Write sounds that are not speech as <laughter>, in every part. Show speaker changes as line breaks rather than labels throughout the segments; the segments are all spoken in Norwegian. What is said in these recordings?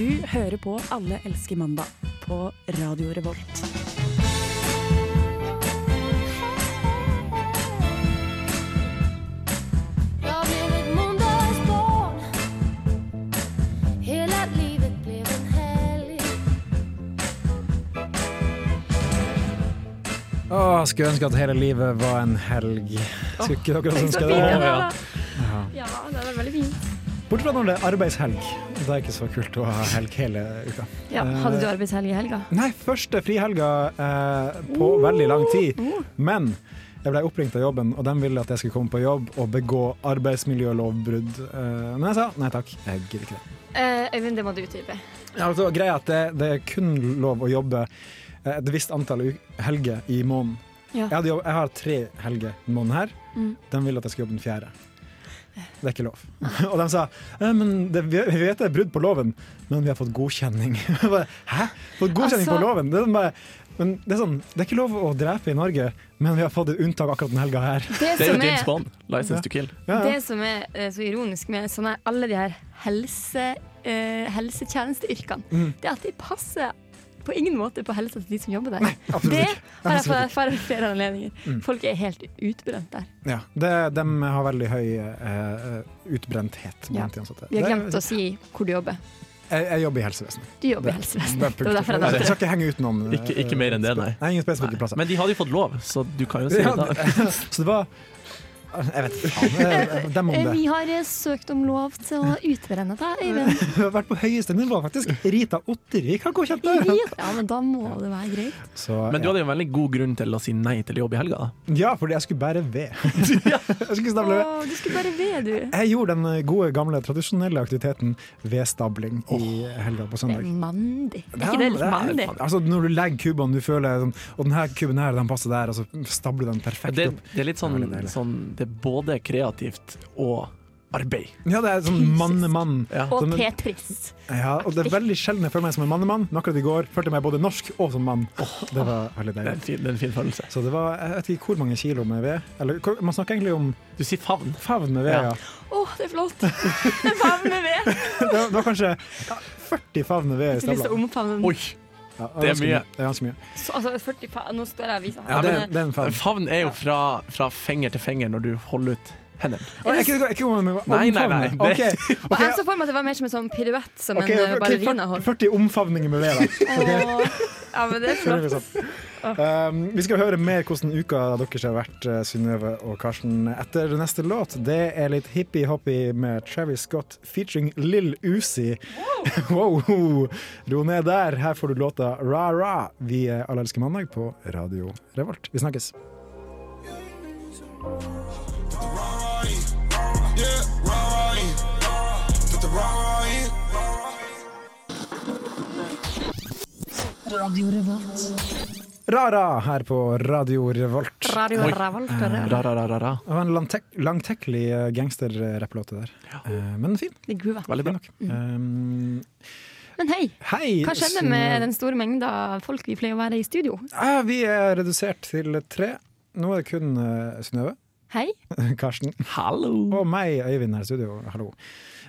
Du hører på Alle elsker mandag på Radio Revolt.
Jag blev ett måndagsbarn Hela livet blev en helg
Åh, skulle ønske at hele livet var en helg. Skulle ikke dere også ønske
fint det
det?
var.
Ja, det er veldig fint.
Bortsett fra når det er arbeidshelg. Da er det ikke så kult å ha helg hele uka.
Ja, hadde du arbeidshelg i helga?
Nei, første frihelga eh, på veldig lang tid. Men jeg ble oppringt av jobben, og de ville at jeg skulle komme på jobb og begå arbeidsmiljølovbrudd. Eh, men jeg sa nei takk, jeg gidder ikke det.
Eh, Øyvind, det må du utdype.
Ja, altså, greia er at det, det er kun lov å jobbe eh, et visst antall u- helger i måneden.
Ja.
Jeg, hadde jobb, jeg har tre helger i måneden her.
Mm. Eh.
De ville at jeg skulle jobbe den fjerde. Det er ikke lov. <laughs> Og de sa «Eh, men det, vi vi vet det er brudd på loven, men vi har fått godkjenning. <laughs> Jeg bare, Hæ? Fått godkjenning
Altså-
på loven? Det er, sånn bare, men det, er sånn, det er ikke lov å drepe i Norge, men vi har fått et unntak akkurat den helga her. <laughs>
Det
Det er jo
som
James
er,
Bond. License to kill.
Ja,
det
ja.
som er eh, så ironisk med sånne, alle de her helse, eh, helsetjenesteyrkene,
Mm.
det er at de passer på ingen måte på helsa til de som jobber der.
absolutt
det
ikke.
har jeg
absolutt
fått
ikke.
erfare ved flere anledninger.
Mm.
Folk er helt utbrent der.
Ja, det, de har veldig høy eh, utbrenthet
Ja.
blant de ansatte.
Vi har
Det-
glemt å si hvor du jobber.
Jeg, jeg jobber i helsevesenet.
Du jobber
Det-
i helsevesenet.
Bare
Det var derfor jeg
punktum.
nevnte
Jeg
det.
skal ikke henge ut noen. eh,
Ikke- ikke mer enn det, nei.
spe- Ingen spesifikke plasser.
Men de hadde jo fått lov, så du kan jo si
Ja,
det.
så det <laughs> var Jeg vet faen. eh, Dem om
Eh,
det.
Vi har eh, søkt om lov til å utbrenne deg, Øyvind.
Hun har <laughs> vært på høyeste nivå, faktisk. Rita Ottervik har godkjent det!
Ja, men da må det være greit.
Så,
Men du hadde jo en veldig god grunn til å si nei til jobb i helga. da.
Ja, fordi jeg skulle bære
<laughs>
ved. <laughs> jeg skulle stable ved.
Å, du skulle bare ved, du.
Jeg gjorde den gode, gamle, tradisjonelle aktiviteten vedstabling i helga på
Det er
søndag.
mandig. Er ikke det litt mandig?
altså Når du legger kubene, du føler sånn Og denne kuben her, den passer der, og så stabler den perfekt
Det,
opp.
det er litt sånn,
Ja, det er deilig.
sånn Det er både kreativt og arbeid.
Ja, det er sånn
Fysisk.
mannemann.
Ja.
Og
Sånn-
Tetris.
Ja, og det er veldig sjelden jeg føler meg som en mannemann, men akkurat i går følte jeg meg både norsk og som mann. Det var veldig
Det er
deilig.
en fin, det er en fin følelse.
Så det var, jeg vet ikke hvor mange kilo med ved. Eller, hvor- man snakker egentlig om
Du sier favn.
favn med ved,
Ja.
ja. <laughs>
Å, det er flott! En favn med ved.
Det, var, det var kanskje ja, 40 favn med ved i
Jeg har lyst til
stabla.
å omfavne den.
Oi!
Ja,
det er
ganske
mye.
Det er ganske mye.
Så, altså, 40 fa Nå står jeg og viser.
Ja,
Ja,
det,
men-
det er en favn.
Favn er jo fra, fra finger til finger når du holder ut hendene.
Å, Jeg er ikke- jeg er ikke kommet med
Nei, nei, nei,
omfavnet. Ok,
Og
ok,
eh, jeg så for meg at det var mer som en sånn piruett som
ok,
en eh,
ok,
ballerina
40
holdt.
40 omfavninger med ved, da. Ok,
Å, Ja, men det er
føler vi
flott.
sånn. Um, vi skal høre mer hvordan uka deres har vært, eh, Synnøve og Karsten, etter neste låt. Det er litt hippie-hoppy med Travis Scott featuring Lill Uzi. <laughs> Wow. Ro ned der. Her får du låta Ra Ra. Vi er Alle elsker mandag på Radio Revolt. Vi snakkes. Ra Ra her på Radio Revolt.
Radio Revolt og Revolt.
Ra-ra-ra-ra.
Det var en langtek langtekkelig eh, gangsterrapplåte der, Eh, men fin.
Det er groova.
Veldig bra.
Um,
Men hei,
hei.
hva skjedde
Synnøve.
med den store mengda folk vi pleier å være i studio?
Ja, vi er redusert til tre. Nå er det kun uh, Synnøve, <laughs>
Hei,
Karsten
Hallo!
og meg, Øyvind, her i studio. Hallo.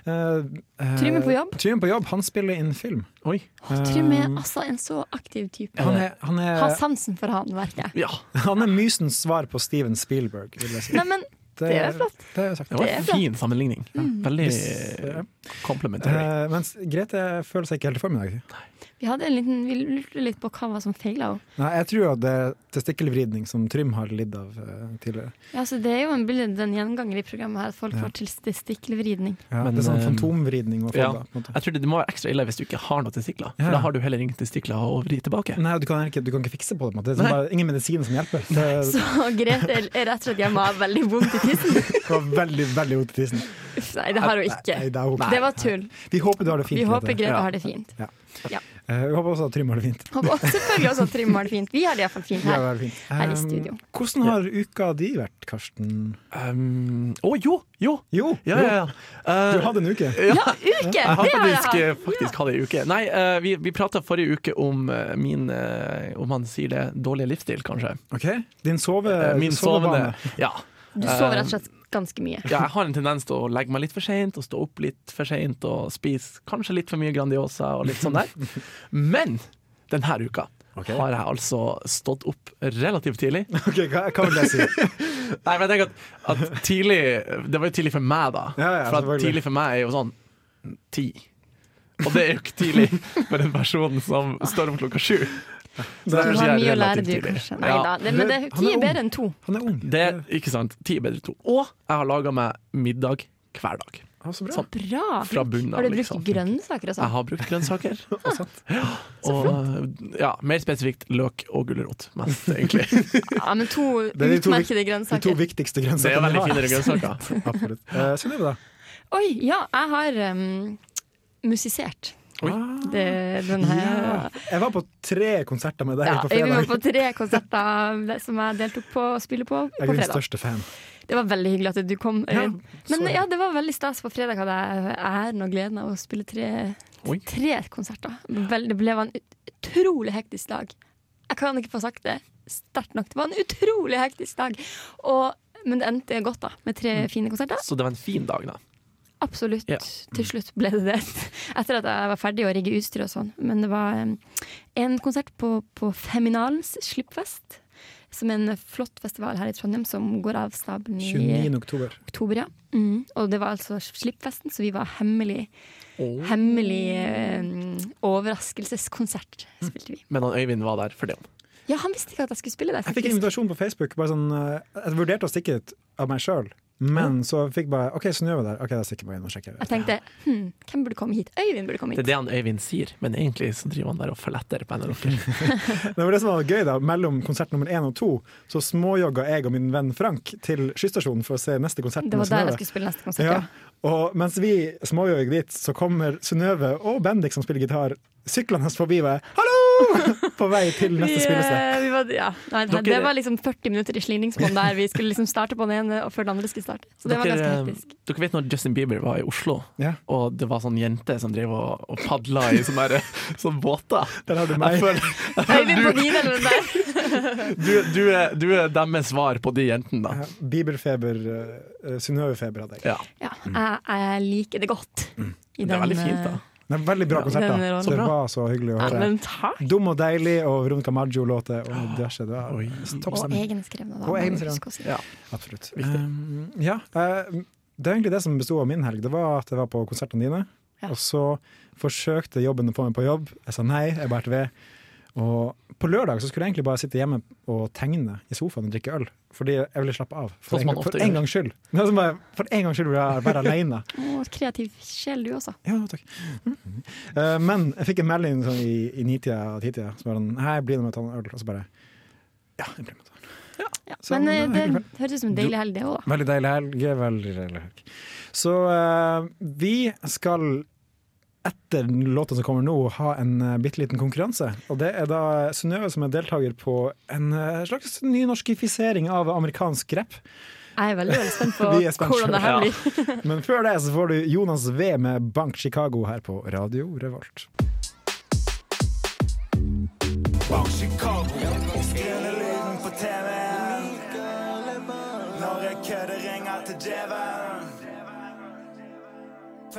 Uh,
Trym er på jobb.
Trym er på jobb. Han spiller inn film.
Oi.
Trym er altså en så aktiv type.
Han er, han
Har
er,
sansen for håndverket.
Ja.
han er mysens svar på Steven Spielberg, vil jeg si.
Nei, men det er flott.
Det er jo sagt.
Det var
Det er
en
flott. Mm.
fin sammenligning. Veldig
Hvis- ja.
komplementær.
Eh, mens Grete føler seg ikke helt i form i dag.
Vi, hadde en liten, vi lurte litt på hva var som feila henne.
Nei, jeg tror at det er testikkelvridning som Trym har lidd av eh, tidligere.
Ja, altså, det er jo en, bilde- den gjenganger i programmet her at folk
Ja.
får til testikkelvridning.
Ja,
Men,
det er sånn
eh,
fantomvridning og
ja.
folda. på en måte.
Jeg tror det, det må være ekstra ille hvis du ikke har noen testikler,
Ja.
for da har du heller ingen testikler å vri tilbake.
Nei, du kan, ikke, du kan ikke fikse på det. på en måte. Det er sånn
Nei.
bare, ingen medisiner som
<laughs>
hjelper. Det,
Så Grete er rett og slett hjemme og har veldig vondt i tissen.
det var veldig, veldig vondt i tissen.
Uff, nei, det har hun ikke.
Nei, det er ok.
Det var tull.
Vi håper du har det fint.
Vi håper
Grete.
Grete
Ja.
har det fint.
Eh, vi håper også at Trym har det fint.
Håper også, selvfølgelig også at Trym har det fint. Vi har det iallfall fint
Vi har
her.
det fint.
Her i
Eh,
studio.
hvordan har uka di vært, Karsten?
Um, Å jo! Jo!
Jo,
Ja, ja, ja.
jo,
Eh,
du hadde en uke.
Ja, uke! Det
Jeg har
har jeg
faktisk, eh,
hatt.
faktisk hatt ei uke. Nei, eh, vi, vi prata forrige uke om eh, min eh, Om han sier det, dårlige livsstil, kanskje.
Ok, Din sove,
Eh, min
sovevane.
sovende Ja.
Du sover
eh,
rett og slett ganske mye.
Ja, jeg har en tendens til å legge meg litt for seint og stå opp litt for seint og spise kanskje litt for mye Grandiosa og litt sånn der. Men denne uka
Ok.
har jeg altså stått opp relativt tidlig.
<laughs> Ok, hva, hva vil jeg si?
Nei, men jeg tenker at, at tidlig Det var jo tidlig for meg, da.
Ja, ja,
for at
selvfølgelig.
tidlig for meg er jo sånn ti. Og det er jo ikke tidlig for en person som står opp klokka sju.
Det
Du
Kanskje
er,
har
jeg er
mye å lære,
relativt
du,
tidlig.
kanskje. Nei
Ja.
da. Det, men det
Han er
ti er
ung.
bedre enn to.
han er ung.
Det er ikke sant. Ti er bedre enn to. Og jeg har laga meg middag hver dag.
Ja, så bra.
Sånn.
Bra.
Fra bunnen av,
har du brukt
liksom.
grønnsaker og
Jeg
sånn?
har brukt
<laughs>
grønnsaker.
Ah,
Ja, og ja, mer spesifikt løk og gulrot.
<laughs>
Mest, egentlig.
Ja, men to
Det er de to
utmerkede
De to
grønnsaker.
viktigste
Det er jo
grønnsakene
veldig finere grønnsaker.
<laughs> Absolutt. Eh, Synnøve, da?
Oi, ja, jeg har um, musisert.
Oi.
Det, den her.
Ja. Jeg var på tre konserter med deg
Ja,
på
vi var
fredag.
på tre konserter det som jeg deltok på og spiller på på
Jeg er din
fredag.
største fan.
Det var veldig hyggelig at du kom. Øyvind.
så
Men
jeg.
ja, det var veldig stas. På fredag hadde jeg æren og gleden av å spille tre,
Oi.
tre konserter. Vel, det ble en ut- utrolig hektisk dag. Jeg kan ikke få sagt det sterkt nok. Det var en utrolig hektisk dag. Og, men det endte godt, da, med tre
Mm.
fine konserter.
Så det var en fin dag, da.
Absolutt.
Ja.
Til slutt ble det <laughs> det. Etter at jeg var ferdig å rigge utstyr og sånn. Men det var em, en konsert på, på Feminalens Slippfest, som er en flott festival her i Trondheim som går av stabelen i
29. oktober.
oktober. Ja. Mm. Og det var altså Slippfesten, så vi var hemmelig, hemmelig em, overraskelseskonsert. spilte vi.
Men han Øyvind var der for det.
Ja, han visste ikke at jeg skulle spille der,
Jeg fikk en
faktisk.
invitasjon på Facebook. Bare sånn, eh, jeg vurderte å stikke dit av meg sjøl, men så fikk bare OK, Synnøve der. Ok, da stikker jeg bare inn og sjekker.
Jeg tenkte hm, hvem burde komme hit? Øyvind burde komme hit.
Det er det han Øyvind sier, men egentlig så driver han der og følger etter på NRK.
Det var det som var gøy da, Mellom konsert nummer én og to så småjogga jeg og min venn Frank til skysstasjonen for å se neste konsert.
Det
med
var der
Synnøve.
jeg skulle spille neste konsert,
Ja.
ja.
Og mens vi småjogger dit, så kommer Synnøve og Bendik, som spiller gitar, syklende forbi meg. Hallo! <laughs> På vei til neste spillested.
eh, vi var, ja. Nei,
Dere-
det var liksom 40 minutter i slingringsmonn der vi skulle liksom starte på den ene, og før den andre skulle starte. Så det var ganske
Dere,
hektisk.
dere vet når Justin Bieber var i Oslo,
Ja.
og det var sånn jenter som drev og, og padla i sånne, der, <laughs> sånne båter?
Der har du
Jeg
meg.
føler,
Øyvind på din eller den der.
du, du, er, du er deres svar på de jentene, da.
Ja, Bibelfeber, uh, Synnøve-feber hadde jeg.
Ja.
<laughs> Ja, jeg, jeg liker det godt.
Mm.
I
Det er veldig fint,
eh,
da.
Det er veldig bra konsert,
den
da.
rollen.
Så det var så hyggelig å
Ja,
høre.
men takk.
Dum og deilig og Veronica Maggio-låter og diverse. Det var
Oi.
topp
Og
stemning.
egenskrevne, da.
Og
må vi
egenskrevne.
huske å si.
Ja.
Absolutt.
Viktig.
Um, ja, eh, det er egentlig det som besto av min helg. Det var at jeg var på konsertene dine.
Ja.
Og så forsøkte jobben å få meg på jobb. Jeg sa nei, jeg bærte ved. Og på lørdag så skulle jeg egentlig bare sitte hjemme og tegne i sofaen og drikke øl. Fordi jeg ville slappe av. For, en,
Sånn som man ofte
for en
gjør.
gangs skyld. Det er som bare, for en gangs skyld ville jeg være aleine.
Å, kreativ sjel, du også.
Ja, takk. Eh, men jeg fikk en melding sånn, i, i nitida og titida som var sånn Hei, blir det med å ta en øl? Og så bare Ja, jeg blir med å ta en øl.
Ja.
Så
Men
det
eh,
var
det
<laughs> hyggelig.
høres ut som en deilig helg, det òg, da.
Veldig deilig helg. Veldig deilig helg. Så eh, vi skal etter låta som kommer nå, ha en uh, bitte liten konkurranse. Og det er da Synnøve som er deltaker på en eh, slags ny norskifisering av amerikansk rap.
Jeg er veldig veldig
<laughs>
spent på
Vi er spent
hvordan det her
selv.
blir.
Men før det så får du Jonas V med Bank Chicago her på Radio Revolt.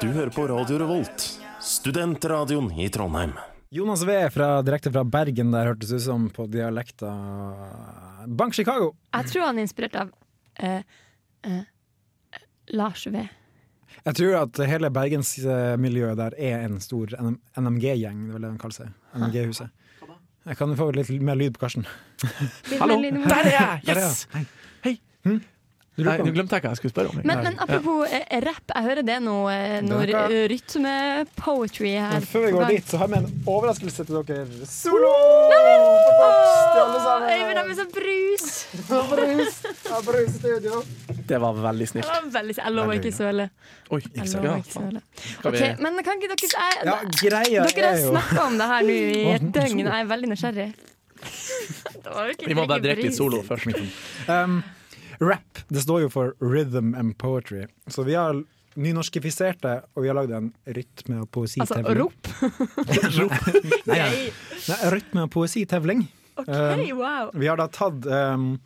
Du hører på Radio Revolt, studentradioen i Trondheim.
Jonas V fra, direkte fra Bergen der hørtes ut som på dialekta Bank Chicago.
Jeg tror han er inspirert av eh, eh, Lars V.
Jeg tror at hele bergensmiljøet der er en stor NMG-gjeng, det vil jeg kalle seg. NMG-huset. Jeg kan få litt mer lyd på Karsten.
Litt
Hallo,
mer lyd i
der er jeg!
Der er
Yes!
jeg. Hm?
Hei.
Du
Nei,
lurer på
nå glemte jeg hva jeg skulle spørre om.
Men, men apropos eh, rap, jeg hører det er noe, eh, noe
Det er noe.
r- rytme-poetry her.
Men Før vi
på
går
gang.
dit, så har vi en overraskelse til dere. Solo!
Åh, Øyvind har med seg brus!
Det var veldig
Det
snilt.
var veldig, jeg lover ikke søle.
Oi,
Jeg
ja,
lover ikke
faen.
søle.
Skal vi-
Ok, men kan ikke dere jeg,
Ja, greia er
Dere har
jo
snakka om det her nå
<laughs>
i et
Åh,
døgn, og jeg er veldig
<laughs>
nysgjerrig. Det var jo ikke
Vi må bare
drikke
drikke litt
brus.
solo først.
um, Rap. Det står jo for rhythm and poetry. Så vi har nynorskifisert det, og vi har lagd en rytme- og
Altså
poesitevling.
rop.
Nei, ja. Nei, rytme- og poesitevling. Eh,
OK, wow!
Vi har da tatt um,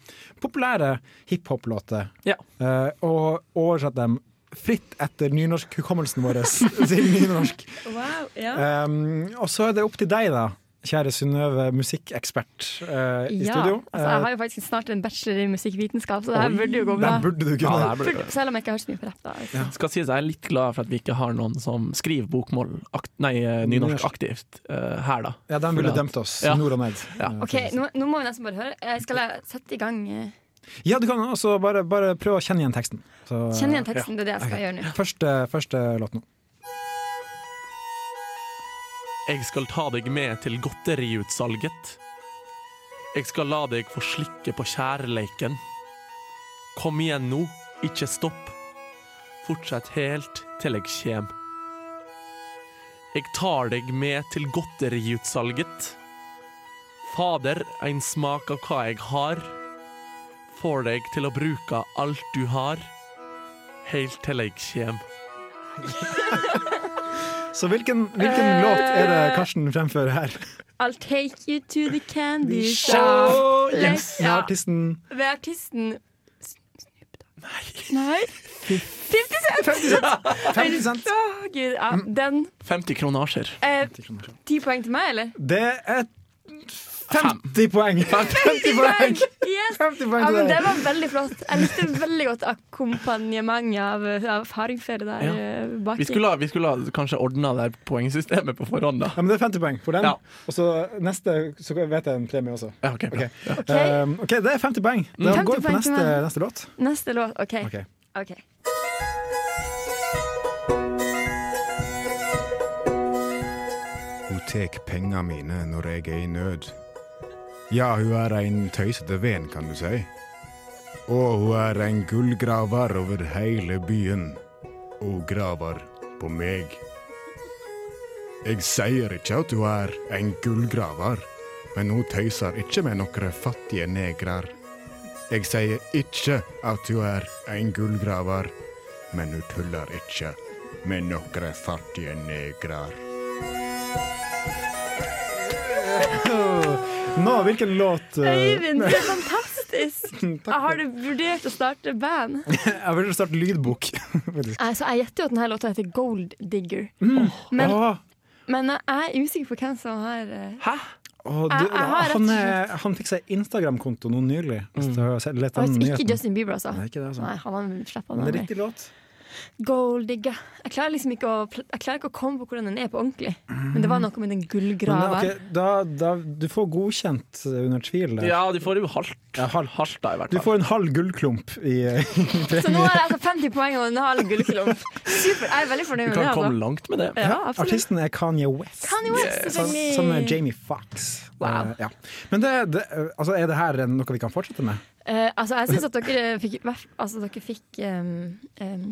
populære hiphop-låter
Ja.
eh, og oversatt dem fritt etter nynorskhukommelsen vår <laughs> til nynorsk.
wow ja.
Um, og så er det opp til deg, da, kjære Synnøve, musikkekspert eh, i
ja.
studio. Eh,
Altså, jeg har jo faktisk snart en bachelor i musikkvitenskap, så det her
Oi,
burde jo gå bra.
Den burde du
ja
kunne.
der ble det.
Selv om jeg ikke har hørt så mye på rett. Da. liksom.
Skal sies, jeg er litt glad for at vi ikke har noen som skriver bokmål akt, Nei, eh, nynorsk
Nynorsk.
aktivt eh, her, da.
Ja, den ville dømt oss,
Ja.
nord og ned.
Ja.
Eh,
OK, nå, nå må vi nesten bare høre. Jeg skal jeg sette i gang. eh,
Ja, du kan også bare, bare prøve å kjenne igjen teksten. Så-
Kjenn igjen teksten, det er det jeg skal gjøre nå.
Ja. Første, første låt nå.
Jeg skal ta deg med til godteriutsalget. Jeg skal la deg få slikke på kjærleiken. Kom igjen nå, ikke stopp. Fortsett helt til jeg kjem. Jeg tar deg med til godteriutsalget. Fader, ein smak av hva jeg har. Får deg til å bruke alt du har. Helt til jeg kjem.
Så hvilken, hvilken
Eh,
låt er det Karsten fremfører her?
I'll take you to the candy shop.
Shout!
yes.
Med artisten
Ved artisten S- Snoop Dogg. Nei. 50 Cent!
50 Cent.
Å, Gud, ja, den.
50 kronasjer.
Eh, Ti poeng til meg, eller?
Det er 50 poeng! 50 poeng!
Yes!
50 poeng
Ja,
til
men Det
deg.
var veldig flott. Jeg likte veldig godt akkompagnementet av, av hardingfele der
Ja.
eh, baki.
Vi skulle, ha- vi skulle ha kanskje ordna det poengsystemet på forhånd, da.
Ja, men det er 50 poeng for den.
Ja.
Og så neste så vet jeg en premie også.
Ja, ok, bra.
Ok, Um, ok, det er 50 poeng. Da
50
går vi på
poeng til
neste,
meg.
neste låt.
Neste låt. OK.
Ok.
Ok.
Hun tek penga mine når jeg er i nød. Ja, hun er en tøysete ven, kan du si. Og hun er en gullgraver over hele byen. Og hun graver på meg. Jeg sier ikke at hun er en gullgraver, men hun tøyser ikke med noen fattige negrer. Jeg sier ikke at hun er en gullgraver, men hun tuller ikke med noen fattige negrer.
Nå, hvilken låt uh,
Øyvind, du er fantastisk! Har du vurdert å starte band?
Jeg vil starte lydbok. <laughs> faktisk.
Altså, jeg gjetter jo at denne låta heter Gold Digger.
Mm.
Men,
Åh,
men jeg er usikker på hvem som har eh,
Hæ?
åh,
Jeg-
du,
jeg har rett og
han, er, han fikk seg Instagram-konto nå nylig. Hvis du har sett- lett den
faktisk Ikke
nyheten.
Justin Bieber, altså.
Nei, ikke det, altså.
Nei, han har slippa
Men det er
den.
riktig låt.
Gold Digger. Jeg klarer liksom ikke å, pl- jeg klarer ikke å komme på hvordan den er på ordentlig. Men det var noe med
Mm. Men,
den
eh,
gullgrava.
ok, da, da, du får godkjent uh, under tvil. der.
Ja, de får jo halvt.
Ja, halvt.
halvt da, i hvert
Du
fall.
får en halv gullklump i
Så nå
<laughs>
er det altså 50 poeng og en halv gullklump. Super, Jeg er veldig fornøyd
Du
med det.
kan komme
Altså.
langt med det.
<laughs>
Ja, absolutt.
Artisten er Kanye West.
Kanye West,
Sam-
selvfølgelig.
Sammen med Jamie Fox.
Wow.
Eh, ja. Men det, det, eh, altså, er det her en- noe vi kan fortsette med?
Eh, altså, jeg syns at dere fikk, hver- altså, dere fikk ehm, ehm,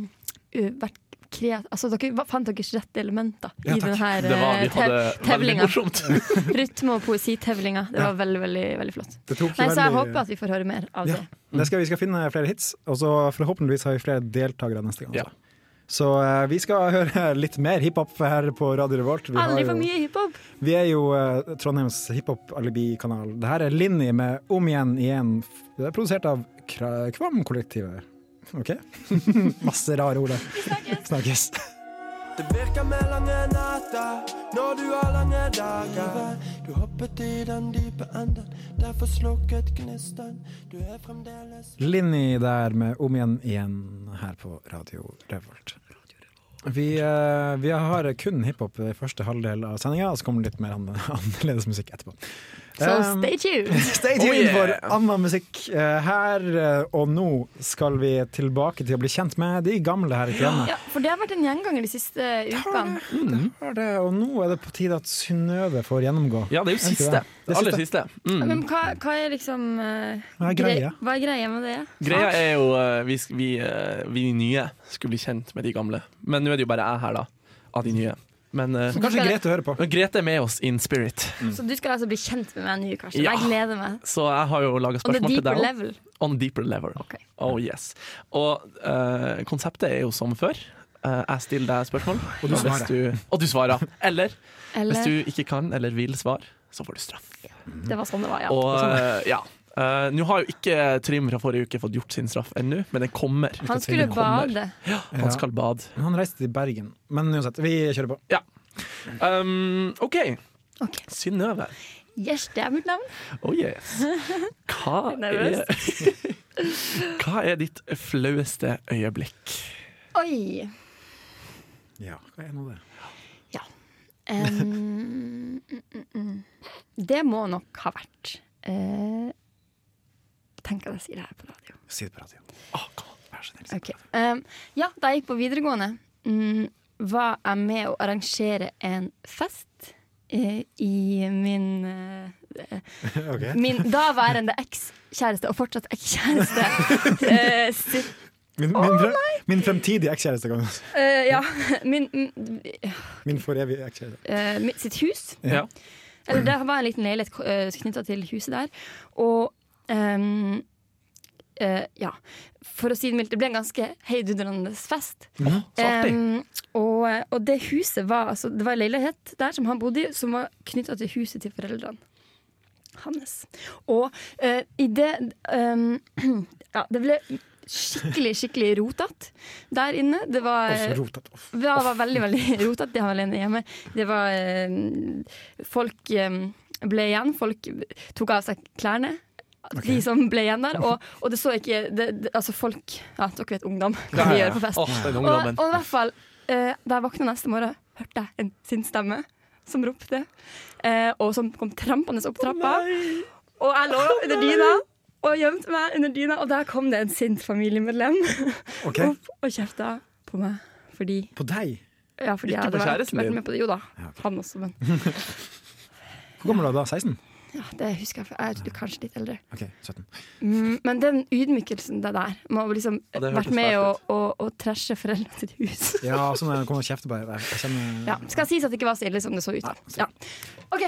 u- vært kreat... Altså, dere va- fant deres rette elementer
Ja,
i
takk.
Det var, vi
denne
hadde veldig
tevlinga.
morsomt.
<laughs> Rytme- og poesitevlinga. Det var veldig, veldig, veldig flott.
Det tok
Nei, så jeg
veldig-
håper at vi får høre mer av
Ja.
det.
Det skal, vi skal finne flere hits, og så forhåpentligvis har vi flere deltakere neste gang.
Ja.
også. Så eh, vi skal høre litt mer hiphop her på Radio Revolt. Vi, har
Aldri
jo,
for mye hiphop!
vi er jo eh, Trondheims hiphop-alibi-kanal. Det her er Linni med Om igjen igjen. Det er produsert av Kra- Kvam-kollektivet. OK? <laughs> Masse rare ord der. Snakkes.
Det virker med lange netter når du har lange dager. Du hoppet i den dype enden, derfor slukket gnisten. Du er fremdeles
Linni der med Om igjen igjen her på Radio Revolt. Vi, eh, vi har kun hiphop i første halvdel av sendinga, og så kommer det litt mer an annerledes musikk etterpå.
Så
Um,
stay tuned!
<laughs> Stay tuned
Oh, yeah.
for annen musikk. Eh, her eh, og nå skal vi tilbake til å bli kjent med de gamle her i programmet.
Ja, for det har vært en gjenganger de siste ukene.
Mm.
Det er det, Og nå er det på tide at Synnøve får gjennomgå.
Ja, det er jo
ikke
siste.
det? Det
Det
er
aller siste. Mm.
Men hva, hva er liksom eh,
Hva er greia?
Hva er greia med det?
Greia er jo eh, vi, sk- vi, eh, vi nye skulle bli kjent med de gamle. Men nå er det jo bare jeg her, da. Av de nye. Men, eh,
Kanskje Grete hører på.
men Grete er med oss in spirit,
Så du skal altså bli kjent med meg nå, Karsten.
Ja.
Jeg gleder meg.
så jeg har jo laga
On the
spørsmål til
deeper
deg. også.
level.
On a deeper level.
Ok.
Oh yes. Og eh, konseptet er jo som før. Eh, jeg stiller deg spørsmål, og
du svarer.
Du, og du svarer. Eller,
Eller
hvis du ikke kan eller vil svare, så får du straff.
Det var sånn det var, ja.
Og eh, ja. Eh, Nå har jo ikke Trym fra forrige uke fått gjort sin straff ennå, men den kommer.
han skulle
Den kommer.
bade.
Han skal bade.
Han reiste til Bergen. Men uansett, vi kjører på.
Um, OK.
Ok.
Synnøve.
Yes, det er mitt navn.
Oh yes.
<laughs>
Hva er
Nervøs.
<laughs> Hva er ditt flaueste øyeblikk?
Oi.
Ja, hva er nå det?
Em, <laughs> mm, mm, mm. det må nok ha vært eh, Tenk at jeg sier det her på radio.
Si det på radio.
Å, kom, vær så snill.
Ok. Em, ja, da jeg gikk på videregående, mm, var jeg med å arrangere en fest eh, i min eh,
Ok.
<laughs>
Min daværende ekskjæreste, og fortsatt
<laughs>
ekskjæreste eh, sitt-
Min, min, fre min fremtidige ekskjæreste. kan du si.
eh, Ja, min, mm,
Min forevige ekskjæreste.
eh, mitt- sitt hus.
Ja.
Eller det var en liten leilighet knytta til huset der. Og ehm, eh, ja, for å si det mildt, det ble en ganske heidundrende fest.
Å, så artig.
Ehm, og, og det huset var altså, Det var en leilighet der som han bodde i, som var knytta til huset til foreldrene hans. Og eh, i det ehm, <clears throat> Ja, det ble skikkelig, skikkelig rotete der inne. Det var
Og så rotet off.
det var veldig veldig <laughs> rotete, det har vel en hjemme. Det var eh, Folk eh, ble igjen. Folk tok av seg klærne. De som ble igjen der. Og, og det så ikke det, det, Altså, folk Ja, dere vet ungdom. Hva de gjør på fest.
Å, den
Og,
ungdommen.
og i hvert fall, eh, da jeg våkna neste morgen, hørte jeg en sin stemme som ropte. Eh, og som kom trampende opp trappa. og jeg lå under dyna og gjemte meg under dyna, og der kom det en sint familiemedlem
Ok,
opp og kjefta på meg. Fordi
På deg?
ja, fordi
Ikke
jeg hadde
på
vært,
kjæresten
vært
din?
med på det. Jo da, han også, men
Hvor gammel var du da? 16?
ja, det husker jeg. for Jeg er kanskje litt eldre.
Ok, 17.
Mm, Men den ydmykelsen det der, med å liksom
Ja, det
vært
hørtes
med
fælt
og, og, og trashe foreldrene sitt hus.
Ja, sånn jeg kommer og kjefter på deg. Jeg kjenner
Ja, skal sies at det ikke var så ille som det så ut. da. Ja. OK.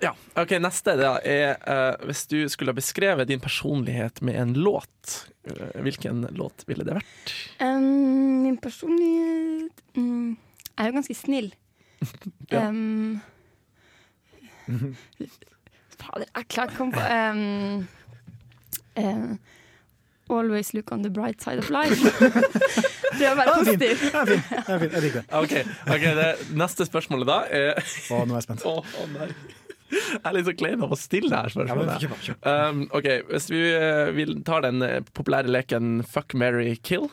Ja. Ok, Neste da er eh, hvis du skulle ha beskrevet din personlighet med en låt, eh, hvilken låt ville det vært?
Um, min personlighet mm, Jeg er jo ganske
<laughs>
snill.
Ja.
Um, Fader, jeg klarer ikke å komme på um, eh, Always look on the bright side of
<laughs>
life. Prøv å være positiv.
Ja, fin. Ja, fin. Jeg liker det.
Ok, ok, det Neste spørsmålet da er
Å, nå er jeg spent.
Å, å nei. Jeg er litt så klein av å stille det her
Ja, men
spørsmålet.
kjør på, kjør på.
Um, ok, Hvis vi, eh, vi tar den eh, populære leken Fuck, marry, kill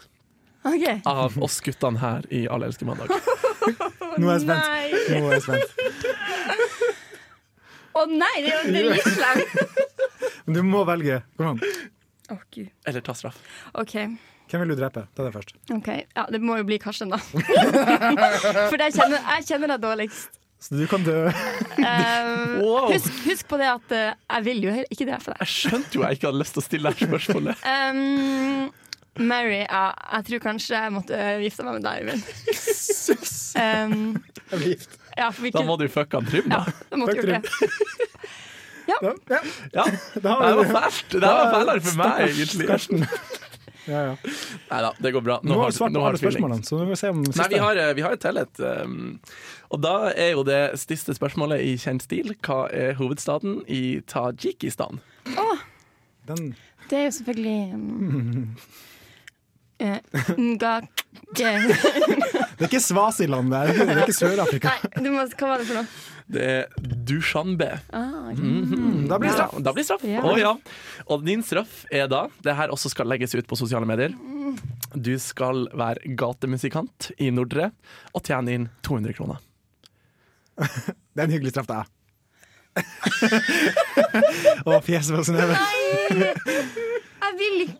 Ok.
Ah,
av oss guttene her i Alle elsker mandag.
Nå er jeg spent.
Nei.
Nå er jeg spent.
Å nei, det er jo litt slemt.
<laughs> Men du må velge. Kom an.
Å gud.
Eller ta straff.
OK.
Hvem vil du drepe? Ta det først.
ok. Ja, det må jo bli Karsten,
<laughs>
da. For jeg kjenner, jeg kjenner deg dårligst.
Så du kan dø. <laughs>
Um,
Wow.
husk, husk på det at eh, jeg vil jo he- ikke det for deg.
Jeg skjønte jo jeg ikke hadde lyst til å stille det her spørsmålet.
Um, Mary, ja, jeg tror kanskje jeg måtte eh, gifte meg med deg, Eivind. Um,
Jeg blir gift.
ja, for vi
Da må
kunne
du fucke han Trym,
ja,
da.
da måtte
Takk,
vi gjort det.
Ja, ja.
Ja.
Da
Det her
har vi
var
det.
fælt! Det her var fælere for meg, egentlig.
Ja, ja.
Nei da, det går bra.
Nå har
har-
du svart
nå
på
har
alle
tvilling.
spørsmålene, så nå må vi se om
Nei, vi
siste.
har, vi har et til et. Um, og da er jo det siste spørsmålet i kjent stil. Hva er hovedstaden i Tadsjikistan?
Den
Det er jo selvfølgelig um, eh, <laughs> Nga- Ge-
Det er ikke Svasiland der. Det er ikke Sør-Afrika.
Nei, du må, hva var det for noe?
Det er Dushanbe.
Ah, ok.
Da blir det straff.
Da blir det straff.
Ja.
Å, ja. Og din straff er da Det her også skal legges ut på sosiale medier. Du skal være gatemusikant i Nordre og tjene inn 200 kroner.
Det er en hyggelig straff, det er. <laughs> Å, fjeset på Synnøve.
Jeg vil ikke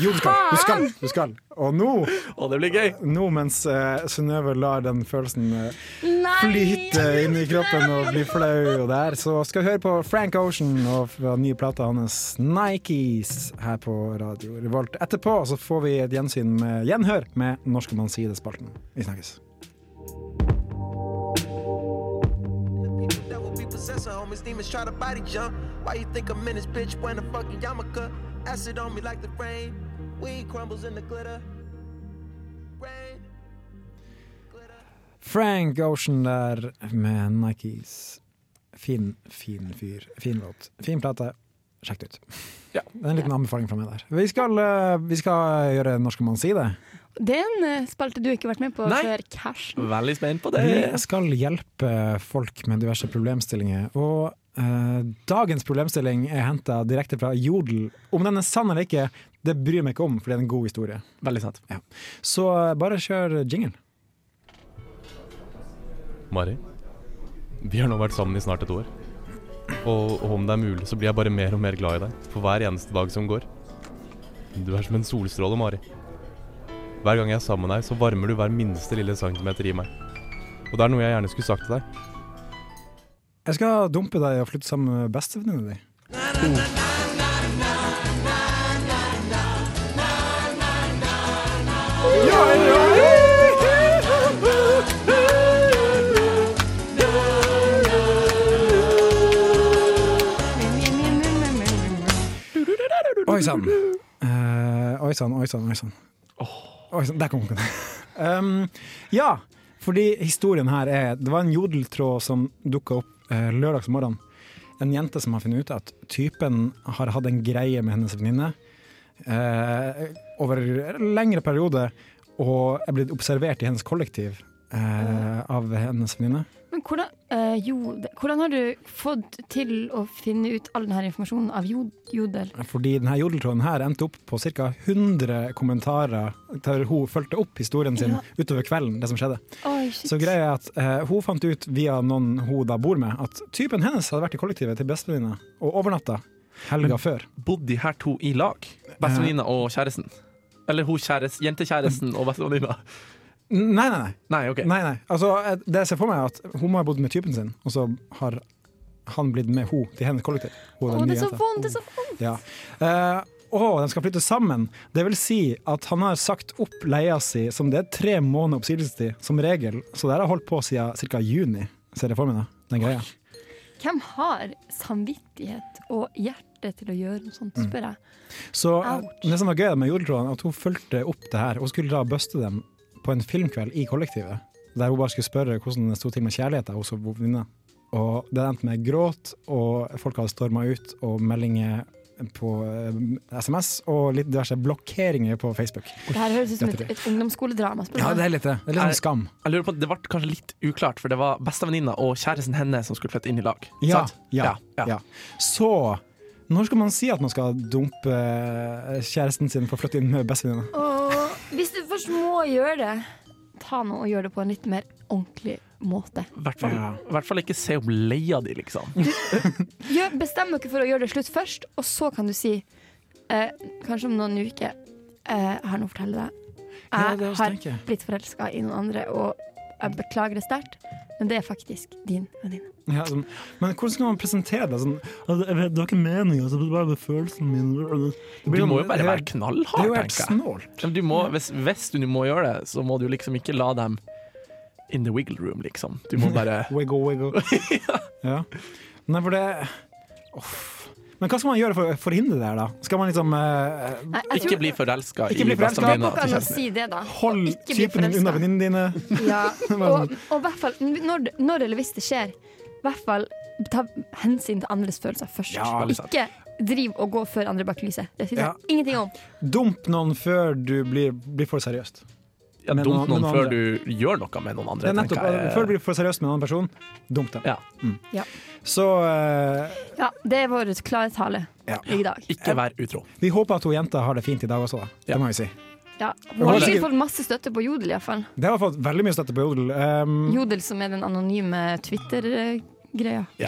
Jo, du skal. Du skal. Du skal. Og nå,
Og det blir gøy!
nå mens uh, Synnøve lar den følelsen eh,
Nei!
flyte inn i kroppen og bli flau og der, så skal vi høre på Frank Ocean og fra den nye plata hans Nikes her på Radio Revolt. Etterpå så får vi et gjensyn med gjenhør med Norske mann side-spalten. Vi snakkes.
That will be possessor, homies. Demons try to body jump. Why you think I'm in this bitch wearing a fucking yarmulke? Acid on me like the rain. Weed crumbles in the glitter. Rain. Glitter.
Frank Ocean der med Nikes. Fin, fin fyr. Fin låt. Fin plate. Sjekk det ut.
Ja.
Det er en liten anbefaling fra meg der. Vi skal, eh, vi skal gjøre Når skal man si det?
Det er en eh, spalte du ikke har vært med på
Nei.
før Cash.
Veldig spent på det.
Vi skal hjelpe folk med diverse problemstillinger. Og eh, dagens problemstilling er henta direkte fra Jodel. Om den er sann eller ikke, det bryr jeg meg ikke om, for det er en god historie.
Veldig sant.
Ja. Så eh, bare kjør jingle.
Mari, vi har nå vært sammen i snart et år. Og, og om det er mulig, så blir jeg bare mer og mer glad i deg for hver eneste dag som går. Du er som en solstråle, Mari. Hver gang jeg er sammen med deg, så varmer du hver minste lille centimeter i meg. Og det er noe jeg gjerne skulle sagt til deg.
Jeg skal dumpe deg og flytte sammen med bestevenninna di. Oi sann. Eh, oi sann, oi sann, oi sann. Oi sann, Der kom den. um, ja, fordi historien her er Det var en jodeltråd som dukka opp uh, lørdagsmorgen. En jente som har funnet ut at typen har hatt en greie med hennes venninne eh, over en lengre periode, og er blitt observert i hennes kollektiv eh, av hennes venninne.
Men hvordan, eh, jo, det- hvordan har du fått til å finne ut all denne informasjonen av jod, Jodel?
Fordi denne jodeltråden her endte opp på ca. 100 kommentarer der hun fulgte opp historien sin
Ja.
utover kvelden, det som skjedde.
Oi, shit.
Så greia er at eh, hun fant ut via noen hun da bor med, at typen hennes hadde vært i kollektivet til bestevenninna og overnatta helga før.
Bodde de her to i lag? Bestevenninna og kjæresten? Eller hun kjærest, jentekjæresten og bestevenninna?
N- Nei, nei, nei.
Nei, OK.
nei, nei. Altså, eh, det jeg ser for meg, er at hun må ha bodd med typen sin, og så har han blitt med hun til hennes kollektiv. Hun og
Å,
den
det
nye
er så
jenta.
vondt! det er så vondt
Ja. Eh, og de skal flytte sammen. Det vil si at han har sagt opp leia si, som det er tre måneder oppsigelsestid, som regel. Så det her har holdt på siden ca. juni, ser jeg for meg. da, Den greia.
Hvem har samvittighet og hjerte til å gjøre noe sånt,
Mm.
spør jeg.
Så eh,
Ouch.
det som var gøy med jodeltråden, at hun fulgte opp det her. Hun skulle da buste dem på en filmkveld i kollektivet, der hun bare skulle spørre hvordan det sto til med kjærligheten hos venninna. Og det endte med gråt, og folk hadde storma ut, og meldinger på eh, SMS, og litt diverse blokkeringer på Facebook.
Det her høres ut som et,
Dette-
et ungdomsskoledrama. spør
Ja,
du meg.
det er litt det. Det er litt
Er-
sånn skam.
Jeg lurer på, Det ble kanskje litt uklart, for det var bestevenninna og kjæresten hennes som skulle flytte inn i lag.
Ja,
Sant?
ja, ja. Så når skal man si at man skal dumpe eh, kjæresten sin for å flytte inn med bestevenninna?
Åh, hvis du først må gjøre det, ta nå og gjør det på en litt mer ordentlig måte.
I hvert fall,
Ja.
i hvert fall ikke se opp leia di, liksom.
Gjør, bestem dere for å gjøre det slutt først, og så kan du si, eh, kanskje om noen uker, eh, jeg har noe å fortelle deg.
Ja, det er
Jeg
også
har
tenker jeg.
blitt forelska i noen andre, og jeg beklager det sterkt, men det er faktisk din venninne.
Ja, sånn. Men hvordan skal man presentere det? Sånn, «Ja, det det var ikke meningen, altså, det var bare følelsen min. Det
Du
blir jo-
må jo bare
det er-
være
Det er
knallhard,
jo helt
tenker jeg.
snålt.
Men Du må, hvis, hvis du må gjøre det, så må du liksom ikke la dem in the wiggle room, liksom. Du må bare
<laughs> Wiggle, wiggle. ja. Nei, for det Uff. Men hva skal man gjøre for å forhindre det her, da? Skal man liksom eh,
Nei, jeg
ikke
tror-
bli forelska
Ikke
i
bli forelsket.
Det går
bestevenninna
ikke
til
an å
kjæresten.
<laughs>
si det, da.
Hold
Ikke bli
typen din unna
forelsket.
venninnene dine.
Ja. Og,
sånn.
og i hvert fall når, når eller hvis det skjer, i hvert fall ta hensyn til andres følelser først.
Ja, veldig sant.
ikke driv og gå før andre bak lyset. Det syns
Ja.
jeg ingenting om.
Dump noen før du blir, blir for seriøst.
Ja,
Men
Dump
noen-
noen
men
før
andre.
du gjør noe med noen
Det
andre.
er nettopp,
tenker jeg.
Før du blir for seriøst med en annen person, dump dem.
Ja.
Mm.
Ja.
Så eh,
Ja, det er vår klare tale
Ja.
i dag.
Ikke vær utro.
vi håper at hun jenta har det fint i dag også, da.
Ja.
Det må vi si.
Ja. Hun
var
har
sikkert-
sikkert fått masse støtte på Jodel, iallfall.
Det har fått veldig mye støtte på Jodel. Um,
Jodel, som er den anonyme Twitter-greia.
Ja.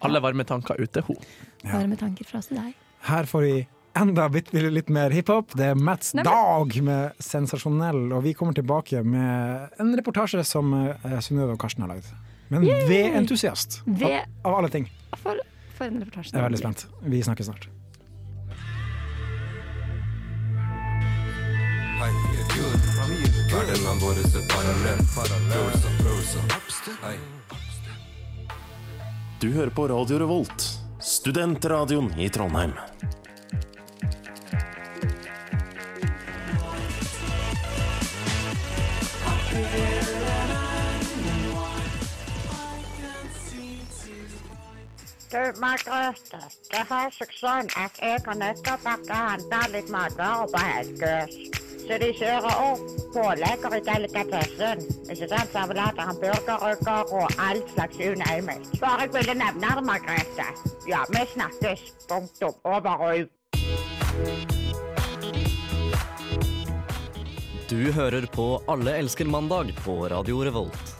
Alle varme tanker ut til henne.
Ja.
Bare med tanker fra oss til deg.
Her får vi enda litt, litt mer hiphop. Det er Mats
Nei, men-
Dag med 'Sensasjonell', og vi kommer tilbake med en reportasje som eh, Synnøve og Karsten har lagd. Men ved entusiast,
Ved
av alle ting.
for, for en reportasje.
Jeg er veldig spent. Vi snakkes snart.
Du hører på Radio Revolt, studentradioen i Trondheim.
Du, Margrethe, det har seg sånn at jeg har nettopp vært og handlet litt matvarer på Helgøs. Så de kjører opp pålegger i delikatessen. Ikke sant? Servelater, hamburgerrygger og all slags unøyelig. Bare jeg ville nevne det, Margrethe. Ja, vi snakkes. Punktum. Over og ut.
Du hører på Alle elsker mandag på Radio Revolt.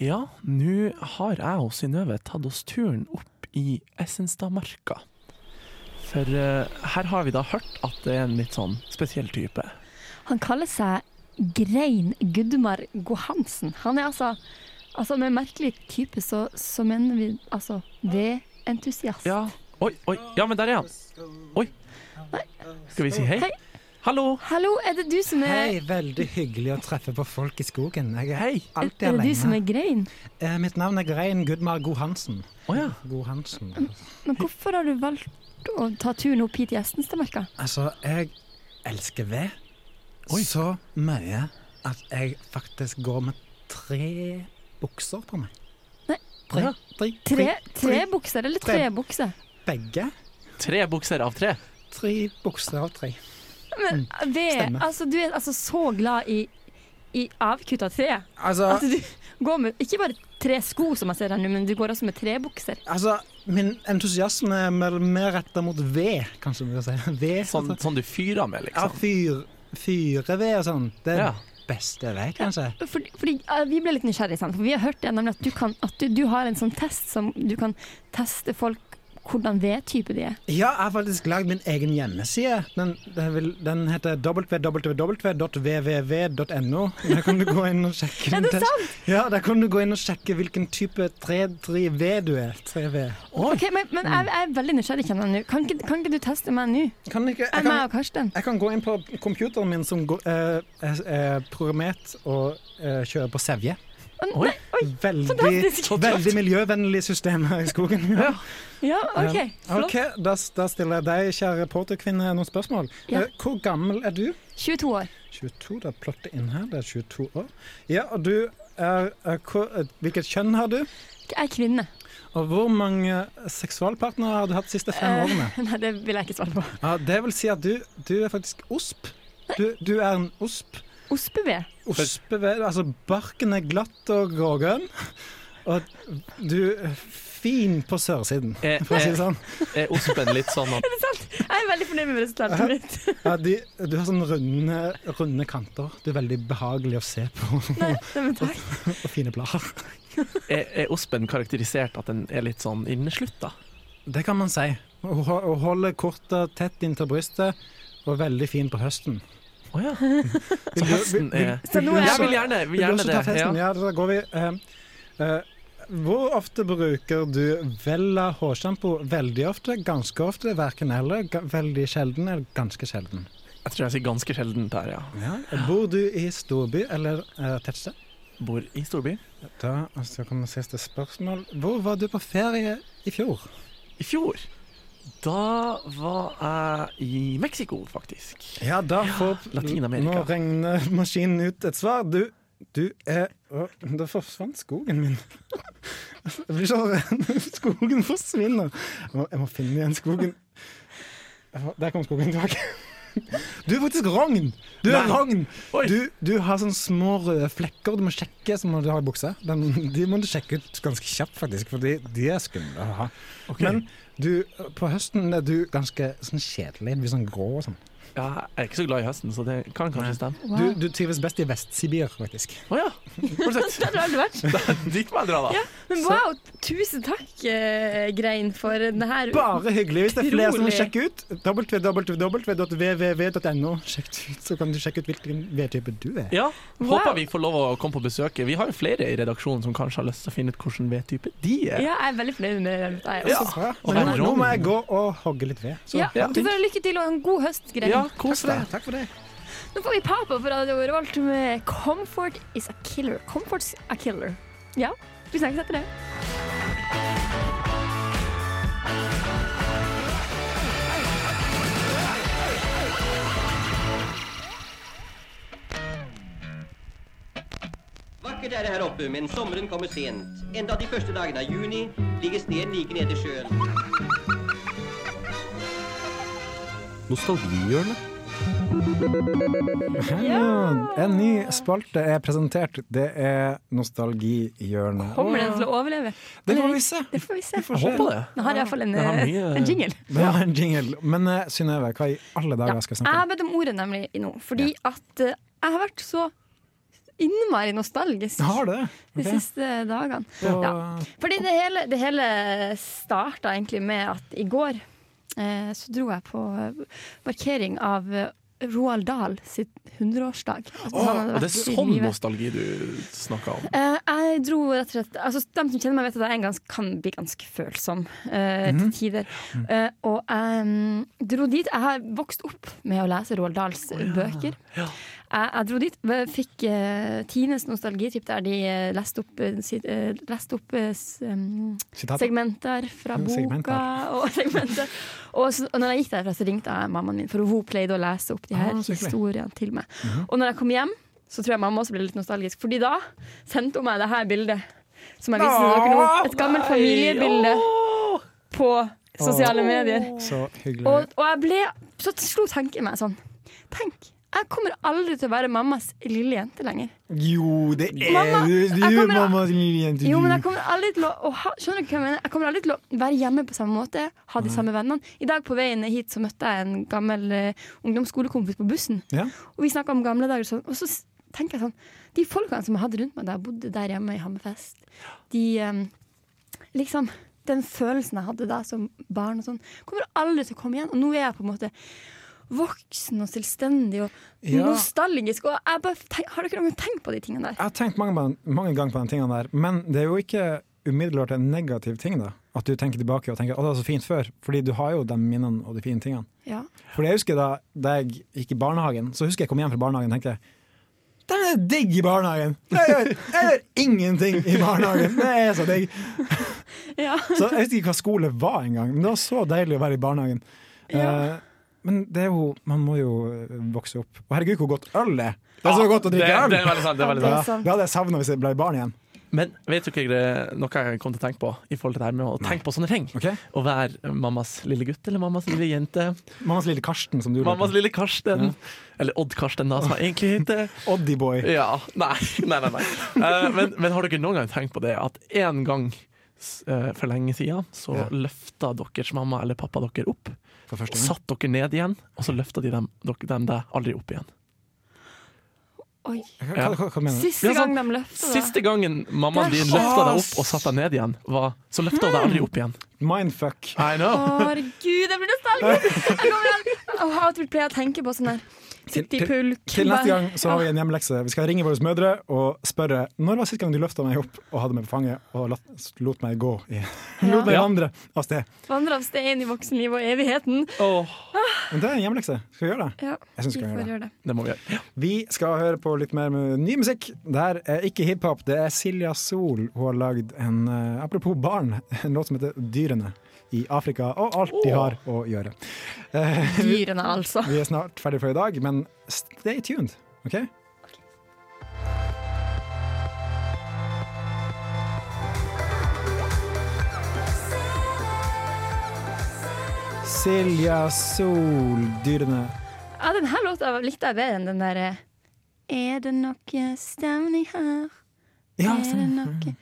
Ja, nå har jeg og Synnøve tatt oss turen opp i Essenstadmarka. For eh, her har vi da hørt at det er en litt sånn spesiell type.
Han kaller seg Grein Gudmar Gohansen. Han er altså, altså med merkelig type så, så mener vi altså vedentusiast.
Ja. Oi, oi, ja, men der er han. Oi. Skal vi si hei?
Hei.
Hallo.
Hallo, er det du som er
Hei, veldig hyggelig å treffe på folk i skogen. Jeg er
Hei.
alltid
Er det
alene.
du som er grein?
Eh, mitt navn er Grein Gudmar Godhansen.
Å ja.
Godhansen.
Men hvorfor har du valgt å ta turen opp hit i Estenstadmarka?
Altså, jeg elsker ved så mye at jeg faktisk går med tre bukser på meg.
Nei.
Tre, tre,
Tre, tre bukser, eller
Tre.
tre bukser?
Begge.
Tre bukser av tre.
Tre bukser av tre.
Men ved,
stemmer.
altså, du er altså så glad i, i avkutta tre.
Altså,
At du går med ikke bare tre sko, som jeg ser her nå, men du går også med tre bukser.
altså min entusiasme er mer- mer retta mot ved, kanskje vi kan si. <laughs> Ved.
Sånn, sånn du fyrer med,
Ja,
liksom.
fyr, fyreved og sånn. Det er
Ja.
beste ved, kanskje.
Fordi, fordi eh, Vi ble litt nysgjerrige, sant? for vi har hørt det, nemlig at, du, kan, at du, du har en sånn test som du kan teste folk hvordan V-type de er.
Ja, jeg har faktisk lagd min egen hjemmeside. Den, den, vil, den heter www.vvv.no. Der kan du gå inn og sjekke
<laughs> Er
den
det
testen.
sant?
Ja, der kan du gå inn og sjekke hvilken type 3-3V du er. 3V.
Ok, Men, men jeg, jeg er veldig nysgjerrig, kjenner jeg nå. Kan, ikke- kan ikke du teste meg nå?
Kan du ikke,
Jeg,
jeg,
meg
kan,
og Karsten.
jeg kan gå inn på computeren min som går, eh, er, er programmert og eh, kjører på sevje.
Oi.
Veldig,
Fantastisk.
veldig miljøvennlig system her i skogen.
Ja.
Ja, OK.
Eh,
Flott.
<laughs> ok, da, da stiller jeg deg, kjære Porter-kvinne, noen spørsmål.
Ja.
Eh, Hvor gammel er du?
22 år.
22, da plotter inn her. Det er 22 år. Ja, og du er, er hvor- eh, Hvilket kjønn har du?
Jeg er kvinne. <laughs>
Og hvor mange seksualpartnere har du hatt de siste fem
Eh,
årene?
Nei, det vil jeg ikke svare på.
Ja, det vil si at du, du er faktisk osp. Du, du er en osp.
Ospeved.
Ospeved, altså barken er glatt og grågrønn. Og du er fin på sørsiden,
Er,
for å si det
er,
sånn.
er ospen litt sånn at
Jeg er veldig fornøyd med resultatet mitt.
Ja, de, du har sånne runde, runde kanter. Du er veldig behagelig å se på, <laughs>
Nei, nei, men takk.
og fine blader.
Er, er ospen karakterisert at den er litt sånn inneslutta?
Det kan man si. Hun ho- hun holder kortet tett inntil brystet og veldig fin på høsten.
Å ja. Så høsten er
Så nå er
Jeg
jeg
vil gjerne, vil
Vil du
gjerne
også
det.
ta festen?
Ja.
Ja, da går vi. eh, eh, hvor ofte bruker du Vella hårsjampo? Veldig ofte, ganske ofte, verken eller. ga- Veldig sjelden eller ganske sjelden.
Jeg tror jeg sier ganske sjeldent her, ja.
Bor du i storby eller uh, tettsted?
Bor i storby.
Da og så kommer siste spørsmål. Hvor var du på ferie i fjor?
I fjor, da var jeg i Mexico, faktisk.
Ja, da får
Latin-Amerika.
Nå regner maskinen ut et svar. Du, du er Å, Da forsvant skogen min. <laughs> Jeg blir så redd. Skogen forsvinner. Jeg må, jeg må finne igjen skogen. Jeg må- Der kom skogen tilbake. <laughs> Du er faktisk rogn! Du er
Nei.
rogn!
Oi.
Du, du har sånne små røde flekker du må sjekke som du har i buksa. Den, de må du sjekke ut ganske kjapt, faktisk, for de er skumle å ha. Men du, på høsten er du ganske sånn kjedelig. Du blir sånn grå og sånn.
Ja, jeg er ikke så glad i høsten, så det kan kanskje stemme.
Wow.
Du, du trives best i Vest-Sibir, faktisk.
Å ja. Har du sett?
Der har du vært.
<laughs>
Dit må jeg dra, da.
Men wow, tusen takk, eh, Grein, for det her.
Bare hyggelig. Hvis det er flere som vil
Utrolig.
sjekke ut, www.vvv.no. Sjekk det ut, så kan du sjekke ut hvilken V-type du er.
Ja,
Wow.
Håper vi får lov å komme på besøk. Vi har jo flere i redaksjonen som kanskje har lyst til å finne ut hvilken V-type de er.
Ja, jeg er veldig fornøyd med det. Jeg
Ja.
også.
Bra.
Og
Nå,
vær
nå
rogn.
må jeg gå og hogge litt ved.
Ja,
Ja.
du får ha lykke til og en god høst, Grein.
Ja, kos
Ja,
deg.
takk for det.
Nå får vi Papa på Radio Revolt med 'Comfort is a killer'. Comfort's a killer. Ja, vi snakkes etter det.
vakkert er det her oppe, men sommeren kommer sent. Enda de første dagene av juni ligger sneen like nede i sjøen.
Nostalgihjørnet.
Ja, en ny spalte er presentert. Det er Nostalgihjørnet.
Kommer den til å overleve?
Det får
Eller-
vi se.
Det får vi se.
får se. Jeg håper det.
Nå har jeg iallfall en, eh,
Den har mye-
en jingle.
Den har en jingle. Men eh, Synnøve, hva i alle dager skal jeg
Jeg
snakke
har
om?
bedt om ordet nemlig nå, fordi at eh, jeg har vært så innmari nostalgisk
Har du det?
de
Ok.
siste dagene.
Og-
Ja. Fordi det hele, det hele starta egentlig med at i går eh, så dro jeg på eh, markering av eh, Roald Dahl sitt 100-årsdag. Altså,
Åh,
han hadde
og det er
vært i
sånn
live.
nostalgi du snakker om.
Eh, jeg dro rett og slett altså, De som kjenner meg, vet at jeg er en gans- kan bli ganske følsom eh, til
Mhm.
tider. Eh, og jeg mm, dro dit. Jeg har vokst opp med å lese Roald Dahls bøker. Jeg, jeg dro dit, v- fikk eh, Tines nostalgitripp der de eh, leste opp, eh, si, eh, leste opp eh, s, em,
Sitater.
segmenter fra
Mm,
boka.
segmenter.
Og, <laughs> segmenter. Og, så, og når jeg gikk derfra, så ringte jeg mammaen min, for hun pleide å lese opp de
Ah, så
her
Mhm. hyggelig.
historiene til meg. Og når jeg kom hjem, så tror jeg mamma også ble litt nostalgisk. Fordi da sendte hun meg det her bildet. Som jeg viser dere nå. Et gammelt
Ah, Nei,
familiebilde på sosiale
Åh.
medier.
Så hyggelig.
Og, og jeg ble Så slo tanken meg sånn. Tenk, jeg kommer aldri til å være mammas lille jente lenger.
Jo, det er
Mamma,
du,
jeg
du
kommer-
mamma sin lille jente.
Jo, men
du.
jeg kommer aldri til å, å ha, Skjønner dere hva jeg mener? Jeg kommer aldri til å være hjemme på samme måte, ha de samme vennene. I dag på veien hit så møtte jeg en gammel eh, ungdomsskolekompis på bussen.
Ja.
Og vi snakka om gamle dager, og sånn, og så s- tenker jeg sånn De folkene som jeg hadde rundt meg da jeg bodde der hjemme i Hammerfest, de em, liksom Den følelsen jeg hadde da som barn og sånn, kommer aldri til å komme igjen. Og nå er jeg på en måte voksen og selvstendig og
Ja.
nostalgisk, og jeg bare tenk, Har dere noen gang tenkt på de tingene der?
Jeg har tenkt mange, mange ganger på den tingene der, men det er jo ikke umiddelbart en negativ ting, da. At du tenker tilbake og tenker 'å, det var så fint før', fordi du har jo de minnene og de fine tingene.
Ja.
For jeg husker da, da jeg gikk i barnehagen, så husker jeg kom hjem fra barnehagen og tenkte det er digg i barnehagen! Jeg gjør, jeg gjør ingenting i barnehagen! Det er så digg! Så jeg vet ikke hva skole var engang, men det var så deilig å være i barnehagen.
Ja.
Eh, men det er jo, man må jo vokse opp. Og herregud, hvor godt øl er! Det er så
Ja,
godt å drikke
det-
øl!
det er veldig sant, det er veldig
Ja,
sant.
det hadde jeg savna hvis jeg ble barn igjen.
Men vet dere det- noe jeg kom til å tenke på? I forhold til det her med å tenke på sånne ting Å være mammas lille gutt eller mammas lille jente.
Mammas lille Karsten, som du liker.
Mammas lille Karsten. Eller Odd Karsten, da, som jeg egentlig heter.
Oddieboy.
Ja. Nei, nei, nei. nei. Eh, men, men har dere noen gang tenkt på det at en gang s- eh, for lenge siden så
Ja.
løfta deres mamma eller pappa dere opp? Satt dere ned igjen, og så løfta de dem, dere, dem deg aldri opp igjen.
Oi.
Ja.
Siste
Ja, sånn,
gang de løfta det.
Siste gangen mammaen
Det er
din løfta deg
sjukt.
opp og satte deg ned igjen, var, så løfta hun deg aldri opp igjen.
Mindfuck.
I know.
Herregud, jeg blir nostalgisk! Jeg kommer igjen. Jeg har alltid pleier å tenke på sånn her. Sitte i pulk.
Til neste gang så har
Ja.
vi en hjemmelekse. Vi skal ringe våre mødre og spørre når var sist gang du løfta meg opp og hadde meg på fanget og lot, lot meg gå i Lot meg vandre av sted.
Vandre av sted inn i voksenlivet og evigheten.
Men det er en hjemmelekse. Skal vi gjøre det?
Ja,
Jeg synes vi
vi
kan
får
gjøre
gjøre det.
Det må vi gjøre.
Vi skal høre på litt mer mu- ny musikk. Det her er ikke hiphop, det er Silja Sol. Hun har lagd en eh, Apropos barn, en låt som heter 'Dyrene i Afrika', og alt de har å gjøre. Eh, vi-
Dyrene, altså.
Vi er snart ferdig for i dag, men stay tuned, OK? Silja Sol, dyrene
Ja, den her låta likte jeg bedre enn den derre Er det noe stemning her?
Ja,
er det noe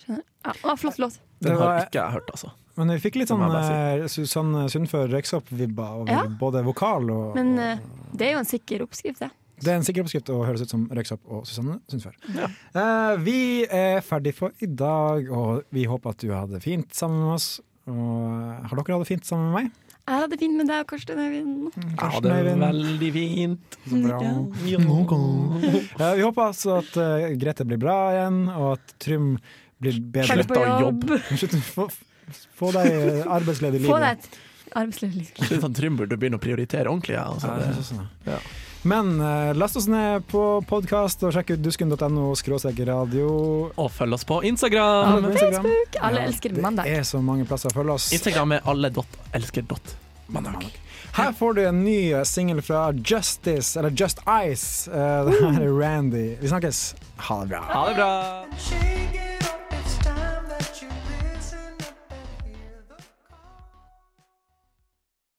Skjønner. Ja, det var en flott låt.
Den
Det
har
var-
ikke jeg hørt, altså.
Men vi fikk litt
Det
sånn
må jeg
eh, Su- Susanne Sundfør Røyksopp-vibba over
Ja.
både vokal og
Men eh, det er jo en sikker oppskrift, det.
Det er en sikker oppskrift å høres ut som Røyksopp og Susanne Sundfør. Eh, vi er ferdig for i dag, og vi håper at du hadde det fint sammen med oss. Og eh, har dere hatt det fint sammen med meg?
Jeg hadde det fint med deg og Karsten Øyvind.
Ja, det er veldig fint.
Så bra.
Ja.
Eh, vi håper altså at eh, Grete blir bra igjen, og at Trym blir bedre. <laughs>
Slutt å jobbe.
Slutt å få, få deg arbeidsledig i
Få
livet.
deg et arbeidslivsliv.
Litt sånn Trym burde begynne å prioritere ordentlig. Ja, altså,
Ja, jeg synes også
det. Ja.
Men eh, last oss ned på podkast og sjekk ut dusken.no skråstrek radio.
Og følg oss på Instagram.
Alle på Instagram.
Facebook. Alle elsker mandag.
Det er så mange plasser å følge oss.
Instagram er alle.elsker.mandag.
Mandag. Her får du en ny singel fra Justice, eller Just Ice. Eh, Det her er Randy. Vi snakkes. Ha det bra.
Ha det bra.